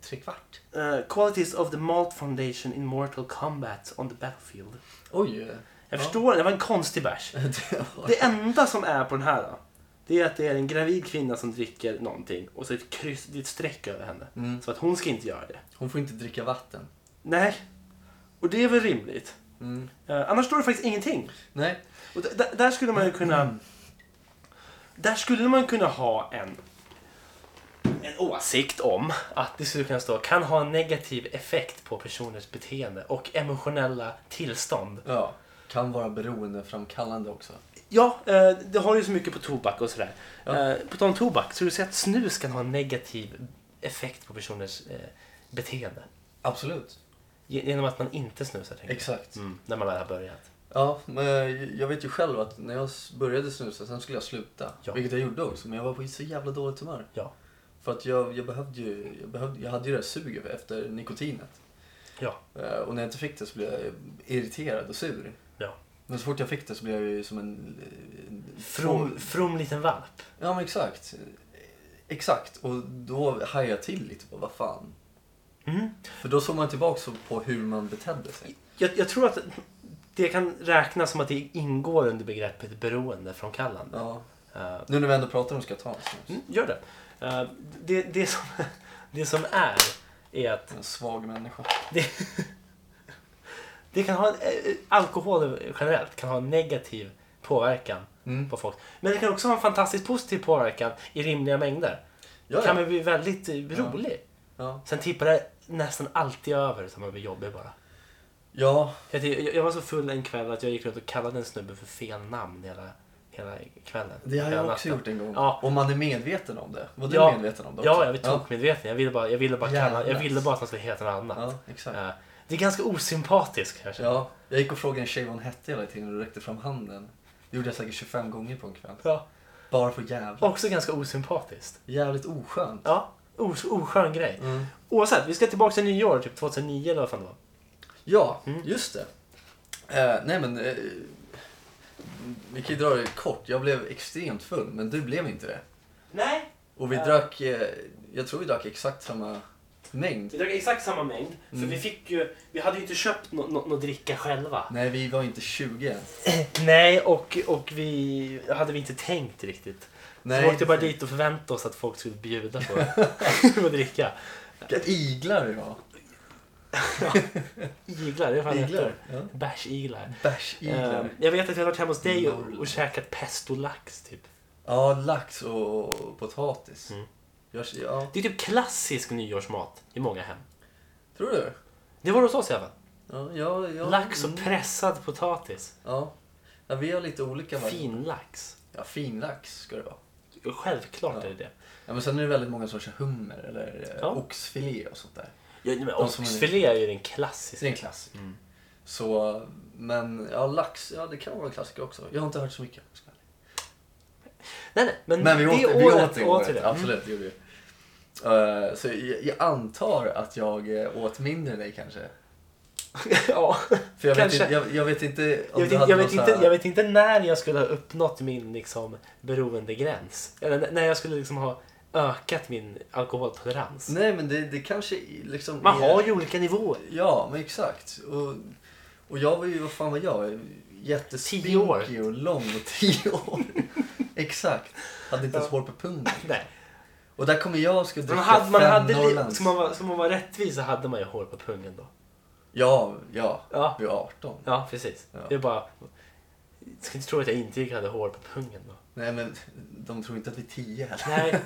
tre kvart. Eh, qualities of the malt foundation in mortal combat on the battlefield. Oj! eh, Jag Ja. förstår, det var en konstig bärs. det var- Det enda som är på den här då, det är att det är en gravid kvinna som dricker någonting och så är det ett kryss, det är ett streck över henne. Mm. Så att hon ska inte göra det. Hon får inte dricka vatten. Nej. Och det är väl rimligt. Mm. Eh, annars står det faktiskt ingenting. Nej. Och d- d- där skulle man ju Mm. kunna... Där skulle man kunna ha en, en åsikt om att det skulle kunna stå kan ha en negativ effekt på personers beteende och emotionella tillstånd. Ja. Kan vara beroendeframkallande också. Ja, eh, det har ju så mycket på tobak och sådär. Ja. Eh, På tal om tobak, så du säger att snus kan ha en negativ effekt på personers eh, beteende? Absolut. Ge- Genom att man inte snusar, tänker jag. Exakt. Mm, när man väl har börjat. Ja, men jag vet ju själv att när jag började snusa, sen skulle jag sluta. Ja. Vilket jag gjorde också, men jag var på så jävla dåligt humör. Ja. För att jag, jag behövde ju, jag, behövde, jag hade ju det där suget efter nikotinet. Ja. Eh, Och när jag inte fick det så blev jag irriterad och sur. Ja. Men så fort jag fick det så blev jag ju som en... en From, from liten valp. Ja men exakt. Exakt, och då hajade jag till lite på vad fan. Mm. För då såg man tillbaka på hur man betedde sig. Jag, jag tror att det kan räknas som att det ingår under begreppet beroende från kallande. Ja. Eh. Nu när vi ändå pratar om ska ta en snus. mm, gör det. Eh, det, det, som, det som är, är att En svag människa. det kan ha en, eh, alkohol generellt kan ha en negativ påverkan Mm. på folk. Men det kan också ha en fantastiskt positiv påverkan i rimliga mängder. Ja, Det kan väl bli väldigt eh, Ja. rolig. ja. Sen tippar det nästan alltid över så man blir jobbig bara. ja, Jag, jag jag var så full en kväll att jag gick runt och kallade en snubbe för fel namn hela, hela kvällen. det har Hela jag också natten. gjort en gång. Ja. Om man är medveten om det. Var du Ja. medveten om det också? Ja, jag var tokmedveten. Jag ville bara, jag ville bara, kalla, jag Jävlar. ville bara att han skulle heta något annat. Ja, exakt. Eh, Det är ganska osympatiskt kanske. Ja, jag gick och frågade en tjej vad hon hette hela tiden och räckte fram handen. Det gjorde jag säkert 25 gånger på en kväll. Ja. Bara för jävla. Också ganska osympatiskt. Jävligt oskönt. Ja, os- oskön grej. Mm. Oavsett, vi ska tillbaka till nyår, typ 2009 eller vad fan det var. Ja, Mm. just det. Eh, nej men, eh, vi kan ju dra det kort. Jag blev extremt full, men du blev inte det. Nej, Och vi Ja. drack, eh, jag tror vi drack exakt samma mängd. vi drack exakt samma mängd. Mm. vi fick ju, vi hade ju inte köpt något no, dricka själva. Nej, vi var inte 20 än. Nej, och, och vi hade vi inte tänkt riktigt. Nej. Så vi Nej, åkte bara dit och förväntade oss att folk skulle bjuda på att dricka. Vilket iglar vi var. Iglar, det är fan Iglar. heter. Ja. Bärsiglar. Bärsiglar. Eh, jag vet att jag har varit hemma hos dig och, Noll. och käkat pesto lax typ. Ja, lax och och potatis. Mm. Jag, ja. Det är typ klassisk nyårsmat i många hem. Tror du? Det var det hos oss även. Ja, ja, ja. Lax och Mm. pressad potatis. Ja. ja, vi har lite olika varianter. Finlax. Ja, finlax ska det vara. Självklart Ja. är det det. Ja, men sen är det väldigt många sorters hummer eller eh, Ja. oxfilé och sånt där. Ja, men De som är- Oxfilé är ju den Det är en klassiska. klassiker. Mm. Så, men ja, lax, ja det kan vara en klassiker också. Jag har inte hört så mycket. om det. Nej, nej, men, Men vi det åt det, vi året åt det, vi året. det. Mm. Absolut, det gjorde vi. Eh, så jag, jag antar att jag eh, åt mindre än dig kanske. ja. För jag, vet Kanske. inte, jag, jag vet inte om jag, vet, du inte- hade jag, någon vet så inte, här- jag vet inte när jag skulle ha uppnått min liksom, beroendegräns. Eller n- när jag skulle liksom ha ökat min alkoholtolerans. Nej men det, det kanske liksom... Man är- har ju olika nivåer. Ja, men exakt. Och, och jag var ju, vad fan var jag? Tio år. Jättespinkig och lång och tio år. exakt. Hade inte ens hår på pungen. Nej. Och där kommer jag och ska Man dricka hade, man fem hade, li- Norrlands. ska, man vara, ska man vara rättvis så hade man ju hår på pungen då. Ja, ja. Ja, Vi är 18. ja precis. Ja. Det är bara... Jag ska inte tro att jag inte hade hår på pungen då. Nej men de tror inte att vi är 10 heller. Nej.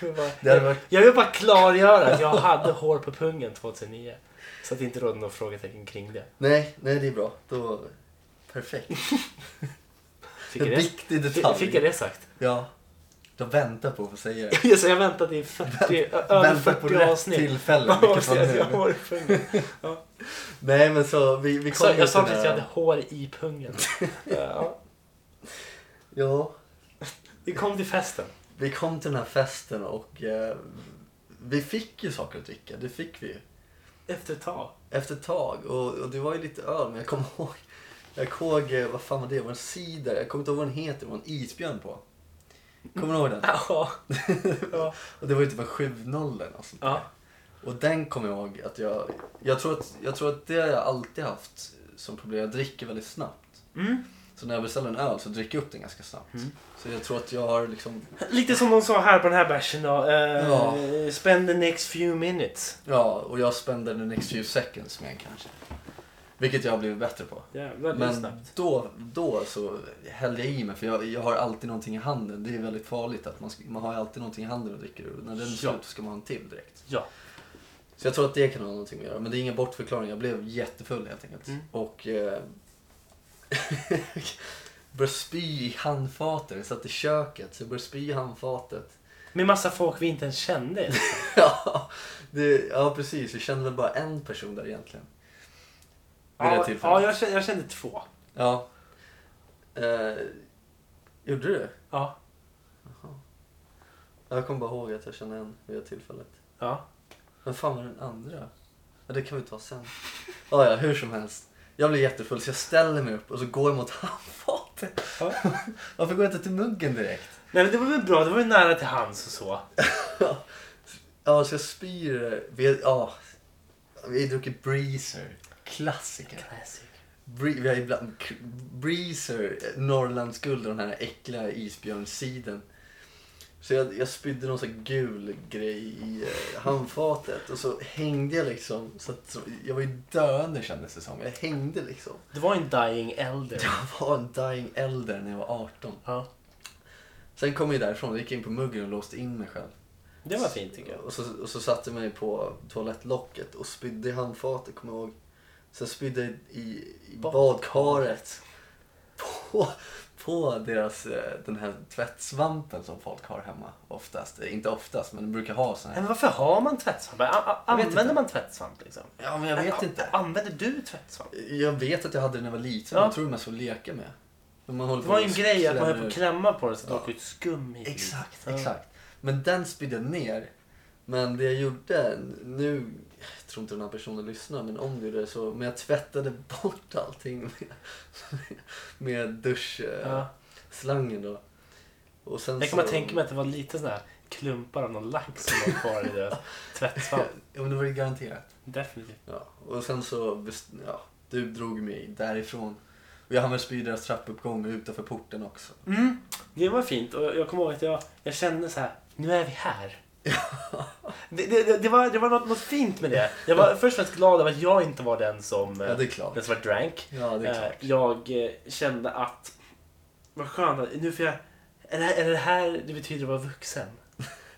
Jag vill bara- Det hade varit- Jag vill bara klargöra att jag hade hår på pungen 2009. Så att det inte råder några frågetecken kring det. Nej, nej det är bra. Då... Perfekt. Fick En jag det, viktig fick- detalj. fick jag det sagt? Ja. De väntar på att få säga det. Just det, jag väntade i 40, ö- över Väntar på 40 rätt avsnitt. tillfälle, Man vilket måste var säga att jag nu. har hår i pungen. Nej men så, vi, vi Jag kom sa- ju Jag sa till att det jag hade här- hår i pungen. Ja, Ja, Vi kom till festen. vi kom till den här festen och eh, vi fick ju saker att dricka. Det fick vi ju. Efter ett tag. Efter ett tag. Och, och det var ju lite öl, men jag kommer ihåg. Jag kommer ihåg, eh, vad fan var det? Det var en cider. Jag kommer inte ihåg vad den heter. Det var en isbjörn på. Kommer du ihåg den? Ja. ja. Och det var ju typ en 7-0 eller något sånt där. ja. Och den kommer jag ihåg att jag... Jag tror att, jag tror att det har jag alltid haft som problem. Jag dricker väldigt snabbt. Mm. Så när jag beställer en öl så dricker jag upp den ganska snabbt. Så jag tror att jag har liksom... Lite som de sa här på den här bärsen då. eh, Ja. Spend the next few minutes. Ja, och jag spender the next few seconds med en kanske. Vilket jag har blivit bättre på. Jävlar, det är Men snabbt. då, då så hällde jag i mig för jag, jag har alltid någonting i handen. Det är väldigt farligt att man, ska, man har ju alltid någonting i handen och dricker ur. När den är Ja. slut så ska man ha en till direkt. Ja. Så jag tror att det kan ha någonting att göra. Men det är ingen bortförklaring. Jag blev jättefull helt enkelt. Mm. Och eh, började spy i handfatet. Jag satt i köket så jag började spy i handfatet. Med massa folk vi inte ens kände. ja, det, ja, precis. Jag kände väl bara en person där egentligen. Vid det ja, tillfället. ja jag, kände, jag kände två. Ja. Eh, gjorde du det? Ja. Jag kommer bara ihåg att jag kände en vid det tillfället. ja. Men fan var den andra? Ja, det kan vi ta sen. Ja, ja, hur som helst. Jag blir jättefull så jag ställer mig upp och så går jag mot handfatet. ja. Varför går jag inte till muggen direkt? Nej men det var väl bra, det var ju nära till hands och så. Ja, så jag spyr. Vi, ja, vi har druckit Breezer. Klassiker. Bre- vi har ibland k- Breezer, eh, Norrlandsguld och den här äckliga isbjörnsiden. Så jag, jag spydde någon sån här gul grej i eh, handfatet och så hängde jag liksom. Så att, så, jag var ju döende kändes det som. Jag hängde liksom. Det var en dying elder. Jag var en dying elder när jag var 18. Ja. Sen kom jag därifrån och gick in på muggen och låste in mig själv. Det var fint tycker jag. Och så, och så satte jag mig på toalettlocket och spydde i handfatet, kommer jag ihåg. Sen spydde jag i, i badkaret. På, på deras, eh, den här tvättsvampen som folk har hemma oftast. Eh, Inte oftast, men de brukar ha sån Nej, här. Men varför har man tvättsvamp? A- a- Jag vet Använder inte. man tvättsvamp liksom? Ja, men jag vet A- inte. Använder du tvättsvamp? Jag vet att jag hade den när jag var liten. Ja. Jag tror mest att leka med. Men man håller Det på var ju och en grej att man klämmer höll på att ut. klämma på den så att det Ja. åkte ut skum i. Exakt, Ja. exakt. Men den spydde jag ner. Men det jag gjorde, nu jag tror inte den här personen lyssnar, men om du gjorde det så, men jag tvättade bort allting med, med Ja. duschslangen då. Och sen Jag kan så- bara tänka mig att det var lite sådana här klumpar av någon lax som var kvar i deras Ja, tvättsvamp. men det var ju garanterat. Definitivt. Ja. Och sen så, best- ja, du drog mig därifrån. Och jag hann väl spy i deras trappuppgång och utanför porten också. Mm. Det var fint och jag kommer ihåg att jag, jag kände så här, nu är vi här. Det, det, det, det var, det var något, något fint med det. Jag var först och främst glad över att jag inte var den som, Ja, det eh, är klart. den som var drank. Ja, det är Eh, klart. Jag eh, kände att, vad skönt, att- nu får jag, är det, här- är det här det betyder att vara vuxen?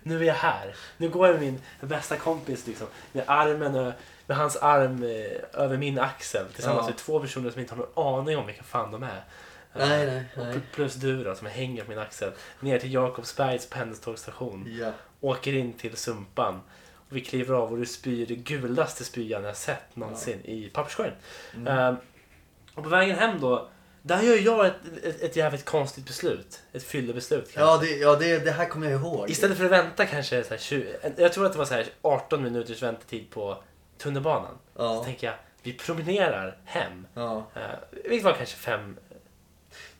Nu är jag här. Nu går jag med min bästa kompis liksom, med armen, ö- med hans arm eh, över min axel tillsammans Ja. med två personer som inte har någon aning om vilka fan de är. Eh, Nej, nej, och nej. pl- Plus du då som hänger på min axel ner till Jakobsbergs pendeltågsstation. Ja. Åker in till Sumpan. Och vi kliver av och du spyr det gulaste spyan jag sett någonsin i papperskorgen. Mm. Ehm, och på vägen hem då, där gör jag ett, ett, ett jävligt konstigt beslut. Ett fyllebeslut kanske. Ja, det, ja det, det här kommer jag ihåg. Istället för att vänta kanske så här 20, jag tror att det var så här 18 minuters väntetid på tunnelbanan. Så Ja. tänker jag, vi promenerar hem. ja. Uh, vilket var kanske fem,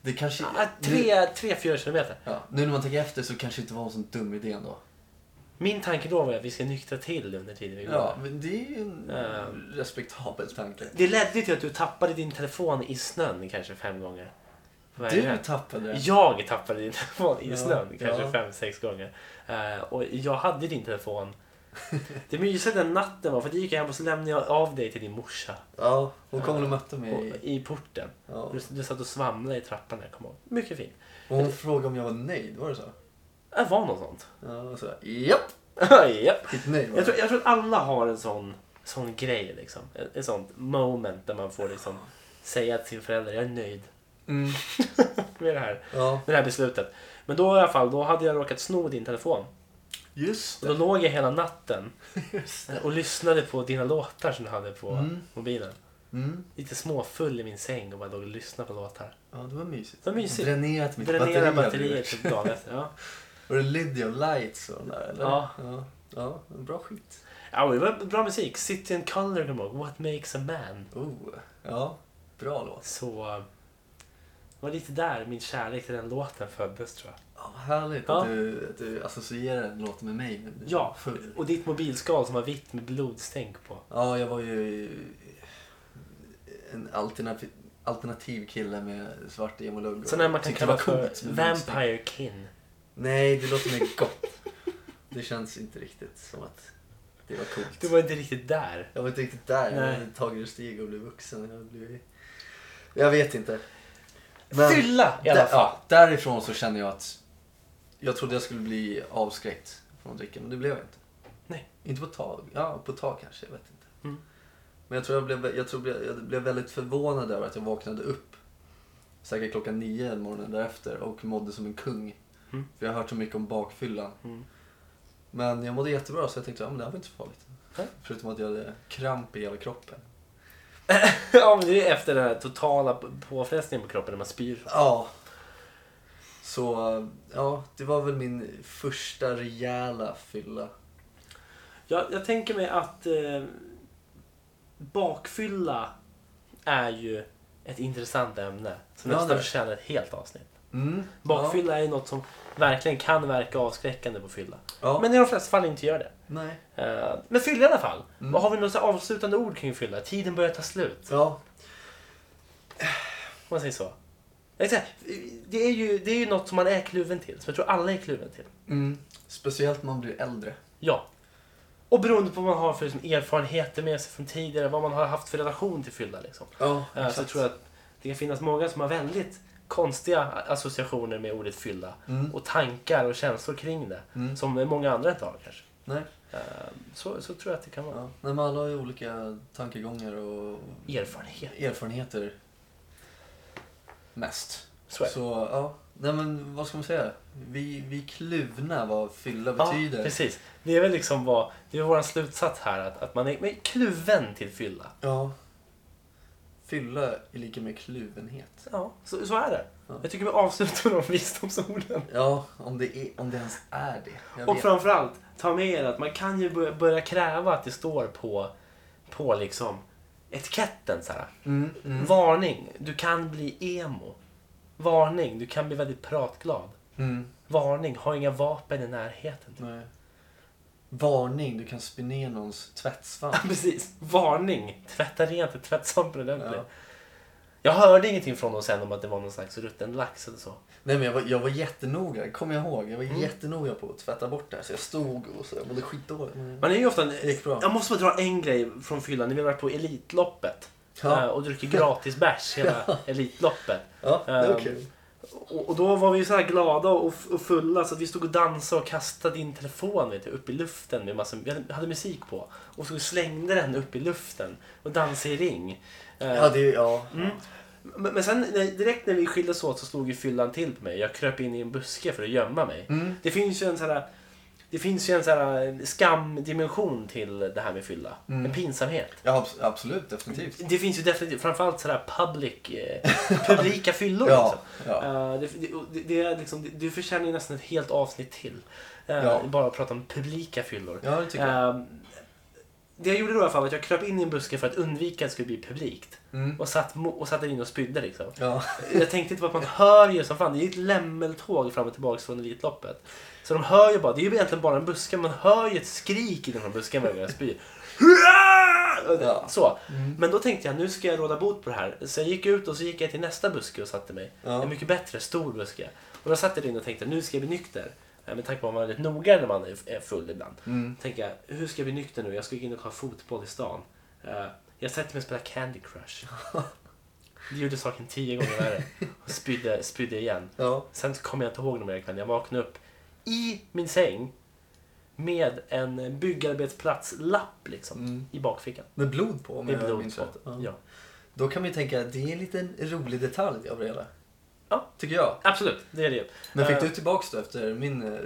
Det kanske... ah, tre, tre, fyra kilometer. Ja, nu när man tänker efter så kanske det inte var en sån dum idé ändå. Min tanke då var att vi ska nyktra till under tiden vi går. Ja, men det är ju en Ehm. respektabel tanke. Det ledde ju till att du tappade din telefon i snön kanske fem gånger. På vägen hem. Du tappade den. Jag tappade din telefon i Ja, snön kanske ja. fem, sex gånger. Eh, och jag hade din telefon. Det mysiga den natten var för att jag gick hem och så lämnade jag av dig till din morsa. Ja, hon kom väl och mötte Och, mig. I porten. Ja. Du, du satt och svamlade i trappan när jag kom ihåg. Mycket fint. Och hon frågade om jag var nöjd, var det så? Det var något sånt. Ja, och så japp! Japp. Ett nej var jag, tror, det. jag tror att alla har en sån, sån grej liksom. Ett, ett sånt moment där man får liksom säga till sin förälder jag är nöjd Mm, med det här, ja, med det här beslutet. Men då i alla fall, då hade jag råkat sno din telefon. just Och då det. låg jag hela natten Just det. och lyssnade på dina låtar som du hade på Mm. mobilen. Mm. Lite småfull i min säng och bara låg och lyssnade på låtar. Ja, det var mysigt. Det var mysigt. Dränerat mitt Dränera batteri. batterier Batterier. typ dagen efter. Ja. Var det Lydia och Lights och den där, eller? Ja. ja. Ja, bra skit. Ja, och det var bra musik. City and Color kommer jag ihåg. What makes a man? Oh, ja. skitbra låt. Så eh, det var lite där min kärlek till den låten föddes tror jag. Ja, vad härligt Ja. att, du, att du associerar en låt med mig. när du Ja, är full. och ditt mobilskal som var vitt med blodstänk på. Ja, jag var ju en alternativ, alternativ kille med svart emolugg. Sån där man kan Tyckte kalla det var för coolt med blodstänk. Vampire Kin. Nej, det låter mer gott. Det känns inte riktigt som att det var coolt. Du var inte riktigt där. Jag var inte riktigt där. Nej. Jag hade tagit ett steg och blev vuxen. Jag, blev... jag vet inte. Fylla i alla Där, fall. ja, därifrån så kände jag att jag trodde jag skulle bli avskräckt från att dricka, men det blev jag inte. Nej. Inte på ett tag. Ja, på ett tag kanske. Jag vet inte. Mm. Men jag tror jag blev, jag tror jag jag blev väldigt förvånad över att jag vaknade upp säkert klockan nio morgonen därefter och mådde som en kung. Mm. För jag har hört så mycket om bakfyllan. Mm. Men jag mådde jättebra så jag tänkte att ja, men det här var inte så farligt. Nej. Förutom att jag hade kramp i hela kroppen. ja, men det är efter den här totala p- påfrestningen på kroppen när man spyr. Ja. Så ja, det var väl min första rejäla fylla. Jag, jag tänker mig att eh, bakfylla är ju ett intressant ämne som Ja, det nästan är. förtjänar ett helt avsnitt. Mm. Bakfylla är ju något som verkligen kan verka avskräckande på fylla. Ja. Men i de flesta fall inte gör det. Nej. Eh, men fylla i alla fall. Mm. Och har vi något så här avslutande ord kring fylla? Tiden börjar ta slut. Ja. Om man säger så. Jag säga, Det är, ju, det är ju något som man är kluven till. Som jag tror alla är kluven till. Mm. Speciellt när man blir äldre. Ja. Och beroende på vad man har för liksom, erfarenheter med sig från tidigare. Vad man har haft för relation till fylla. Liksom. Ja, Eh, Så jag tror att det kan finnas många som har väldigt konstiga associationer med ordet fylla. Mm. Och tankar och känslor kring det. Mm. Som många andra inte har kanske. Nej. Eh, Så, så tror jag att det kan vara. Ja. Nej, men alla har ju olika tankegångar och Erfarenhet. erfarenheter. Mest. Så är det. Så, ja. Nej men vad ska man säga? Vi, vi är kluvna vad fylla betyder. Ja, precis. Det är väl liksom vad, det är vår slutsats här att, att man är, man är kluven till fylla. Ja. Fylla är lika med kluvenhet. Ja, så, så är det. Ja. Jag tycker vi avslutar med de visdomsorden. Ja, om det, är, om det ens är det. Jag Och vet. framförallt, ta med er att man kan ju börja, börja kräva att det står på, på liksom etiketten så här. Mm, mm. Varning, du kan bli emo. Varning, du kan bli väldigt pratglad. Mm. Varning, ha inga vapen i närheten. Nej. Varning, du kan spy ner någons tvättsvamp. Precis. Varning! Tvätta rent i tvättsvampen ordentligt. Ja. Jag hörde ingenting från dem sen om att det var någon slags rutten lax eller så. Nej men jag var, jag var jättenoga, kommer jag ihåg. Jag Mm. var jättenoga på att tvätta bort det här. Så jag stod och så, jag mådde skitdåligt. Man är ju ofta... Det gick bra. Jag måste bara dra en grej från fyllan. När vi var på Elitloppet Ja. eh, och druckit gratis bärs hela Elitloppet. Ja, det var Ehm, kul. Och, och då var vi ju så här glada och, och fulla så att vi stod och dansade och kastade in telefonen vet du, upp i luften. Med massa, vi hade, hade musik på. Och så slängde den upp i luften och dansade i ring. Eh, Ja, det, ja. Men, men sen när, direkt när vi skildes åt så slog ju fyllan till på mig. Jag kröp in i en buske för att gömma mig. Mm. Det finns ju en sån här, det finns ju en sån här skamdimension till det här med fylla. Mm. En pinsamhet. ja abs- absolut, definitivt. Det finns ju definitivt, framförallt sådär public, eh, publika fyllor. Ja, liksom. ja. Eh, det, det, och det, det, är liksom, det, det förtjänar ju nästan ett helt avsnitt till. Eh, Ja. Bara att prata om publika fyllor. Ja, det tycker jag. Eh, det jag gjorde då i alla fall var att jag kröp in i en buske för att undvika att det skulle bli publikt. Mm. Och, satt, mo- och satt in och spydde liksom. Ja. Jag tänkte inte på att man hör ju som fan. Det är ju ett lämmeltåg fram och tillbaka från Elitloppet. Så de hör ju bara. Det är ju egentligen bara en buske. Man hör ju ett skrik i den här busken varje gång jag spyr. Hurra! Ja. Så. Mm. Men då tänkte jag nu ska jag råda bot på det här. Så jag gick ut och så gick jag till nästa buske och satte mig. Ja. En mycket bättre, stor buske. Och då satt jag in och tänkte nu ska jag bli nykter. Eh, Med tanke på att man är väldigt noga när man är- är full ibland. Mm. Tänkte jag, hur ska jag bli nykter nu? Jag ska gå in och ta fotboll i stan. Eh, Jag sätter mig och spelar Candy Crush. Det gjorde saken tio gånger värre. Och spydde, spydde igen. Ja. Sen så kommer jag inte ihåg någon mer ikväll. Jag vaknade upp i min säng med en byggarbetsplats-lapp liksom, Mm. i bakfickan. Med blod på om Med jag blod minns på. rätt. Ja. Ja. Då kan man ju tänka att det är en liten rolig detalj av det hela. Ja. Tycker jag. Absolut, det är det ju. Men fick Eh, du tillbaks då efter min eh,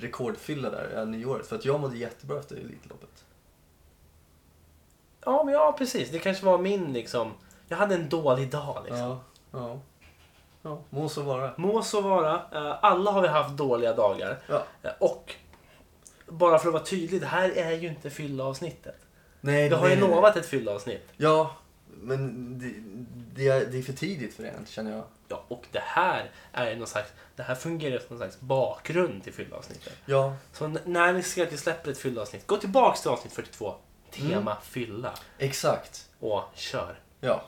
rekordfylla där, eh, nyåret? För att jag mådde jättebra efter Elitloppet. Ja, men ja, precis. Det kanske var min liksom... Jag hade en dålig dag liksom. Ja. Ja. ja. Må så vara. Må så vara. Eh, Alla har vi haft dåliga dagar. Ja. Eh, Och bara för att vara tydlig, det här är ju inte fylla-avsnittet. Nej, Vi har ju nej, nej. lovat ett fylla-avsnitt. Ja, men det, det, är, det är för tidigt för det än, känner jag. Ja, och det här är ju någon slags, det här fungerar som någon slags bakgrund till fyllavsnittet. Ja, Så n- när ni ser att vi släpper ett fyllavsnitt, gå tillbaks till avsnitt 42, Mm. tema fylla, exakt. och kör. Ja.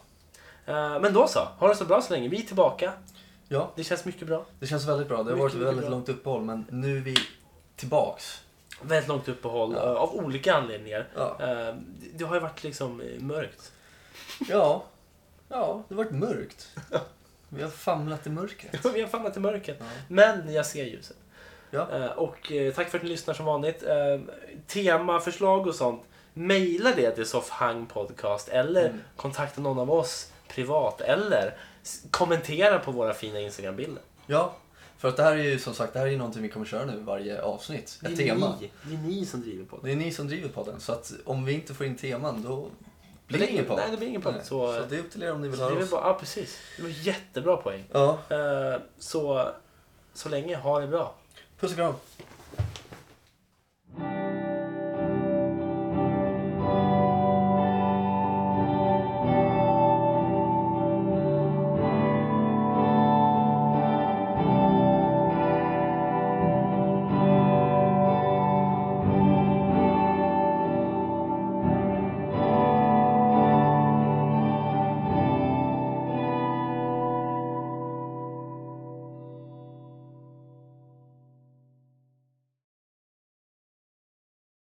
Eh, men då så, ha det så bra så länge. Vi är tillbaka. ja, Det känns mycket bra. det känns väldigt bra. Det har Mycket, varit ett mycket väldigt bra. långt uppehåll men nu är vi tillbaks. Väldigt långt uppehåll Ja. eh, av olika anledningar. Ja, Eh, det- det har ju varit liksom eh, mörkt. ja, ja det har varit mörkt. Vi har famlat i mörkret. Vi har famlat i mörkret. Ja. Men jag ser ljuset. Ja. Eh, Och eh, tack för att ni lyssnar som vanligt. Eh, Tema, förslag och sånt. Maila det till Soffhang Podcast eller Mm. kontakta någon av oss privat eller s- kommentera på våra fina Instagram-bilder. Ja, för att det här är ju som sagt det här är ju någonting vi kommer köra nu i varje avsnitt. Ett tema. Ni, det är ni som driver podden. Det är ni som driver podden, så att om vi inte får in teman då blir det Nej, ingen podd. Nej, det blir ingen podd. Nej, Så, så det är upp till er om ni vill så det är höra väl oss. bara, ja, precis. Det var jättebra poäng. Ja, Eh, Så, så länge, ha det bra. puss och kram.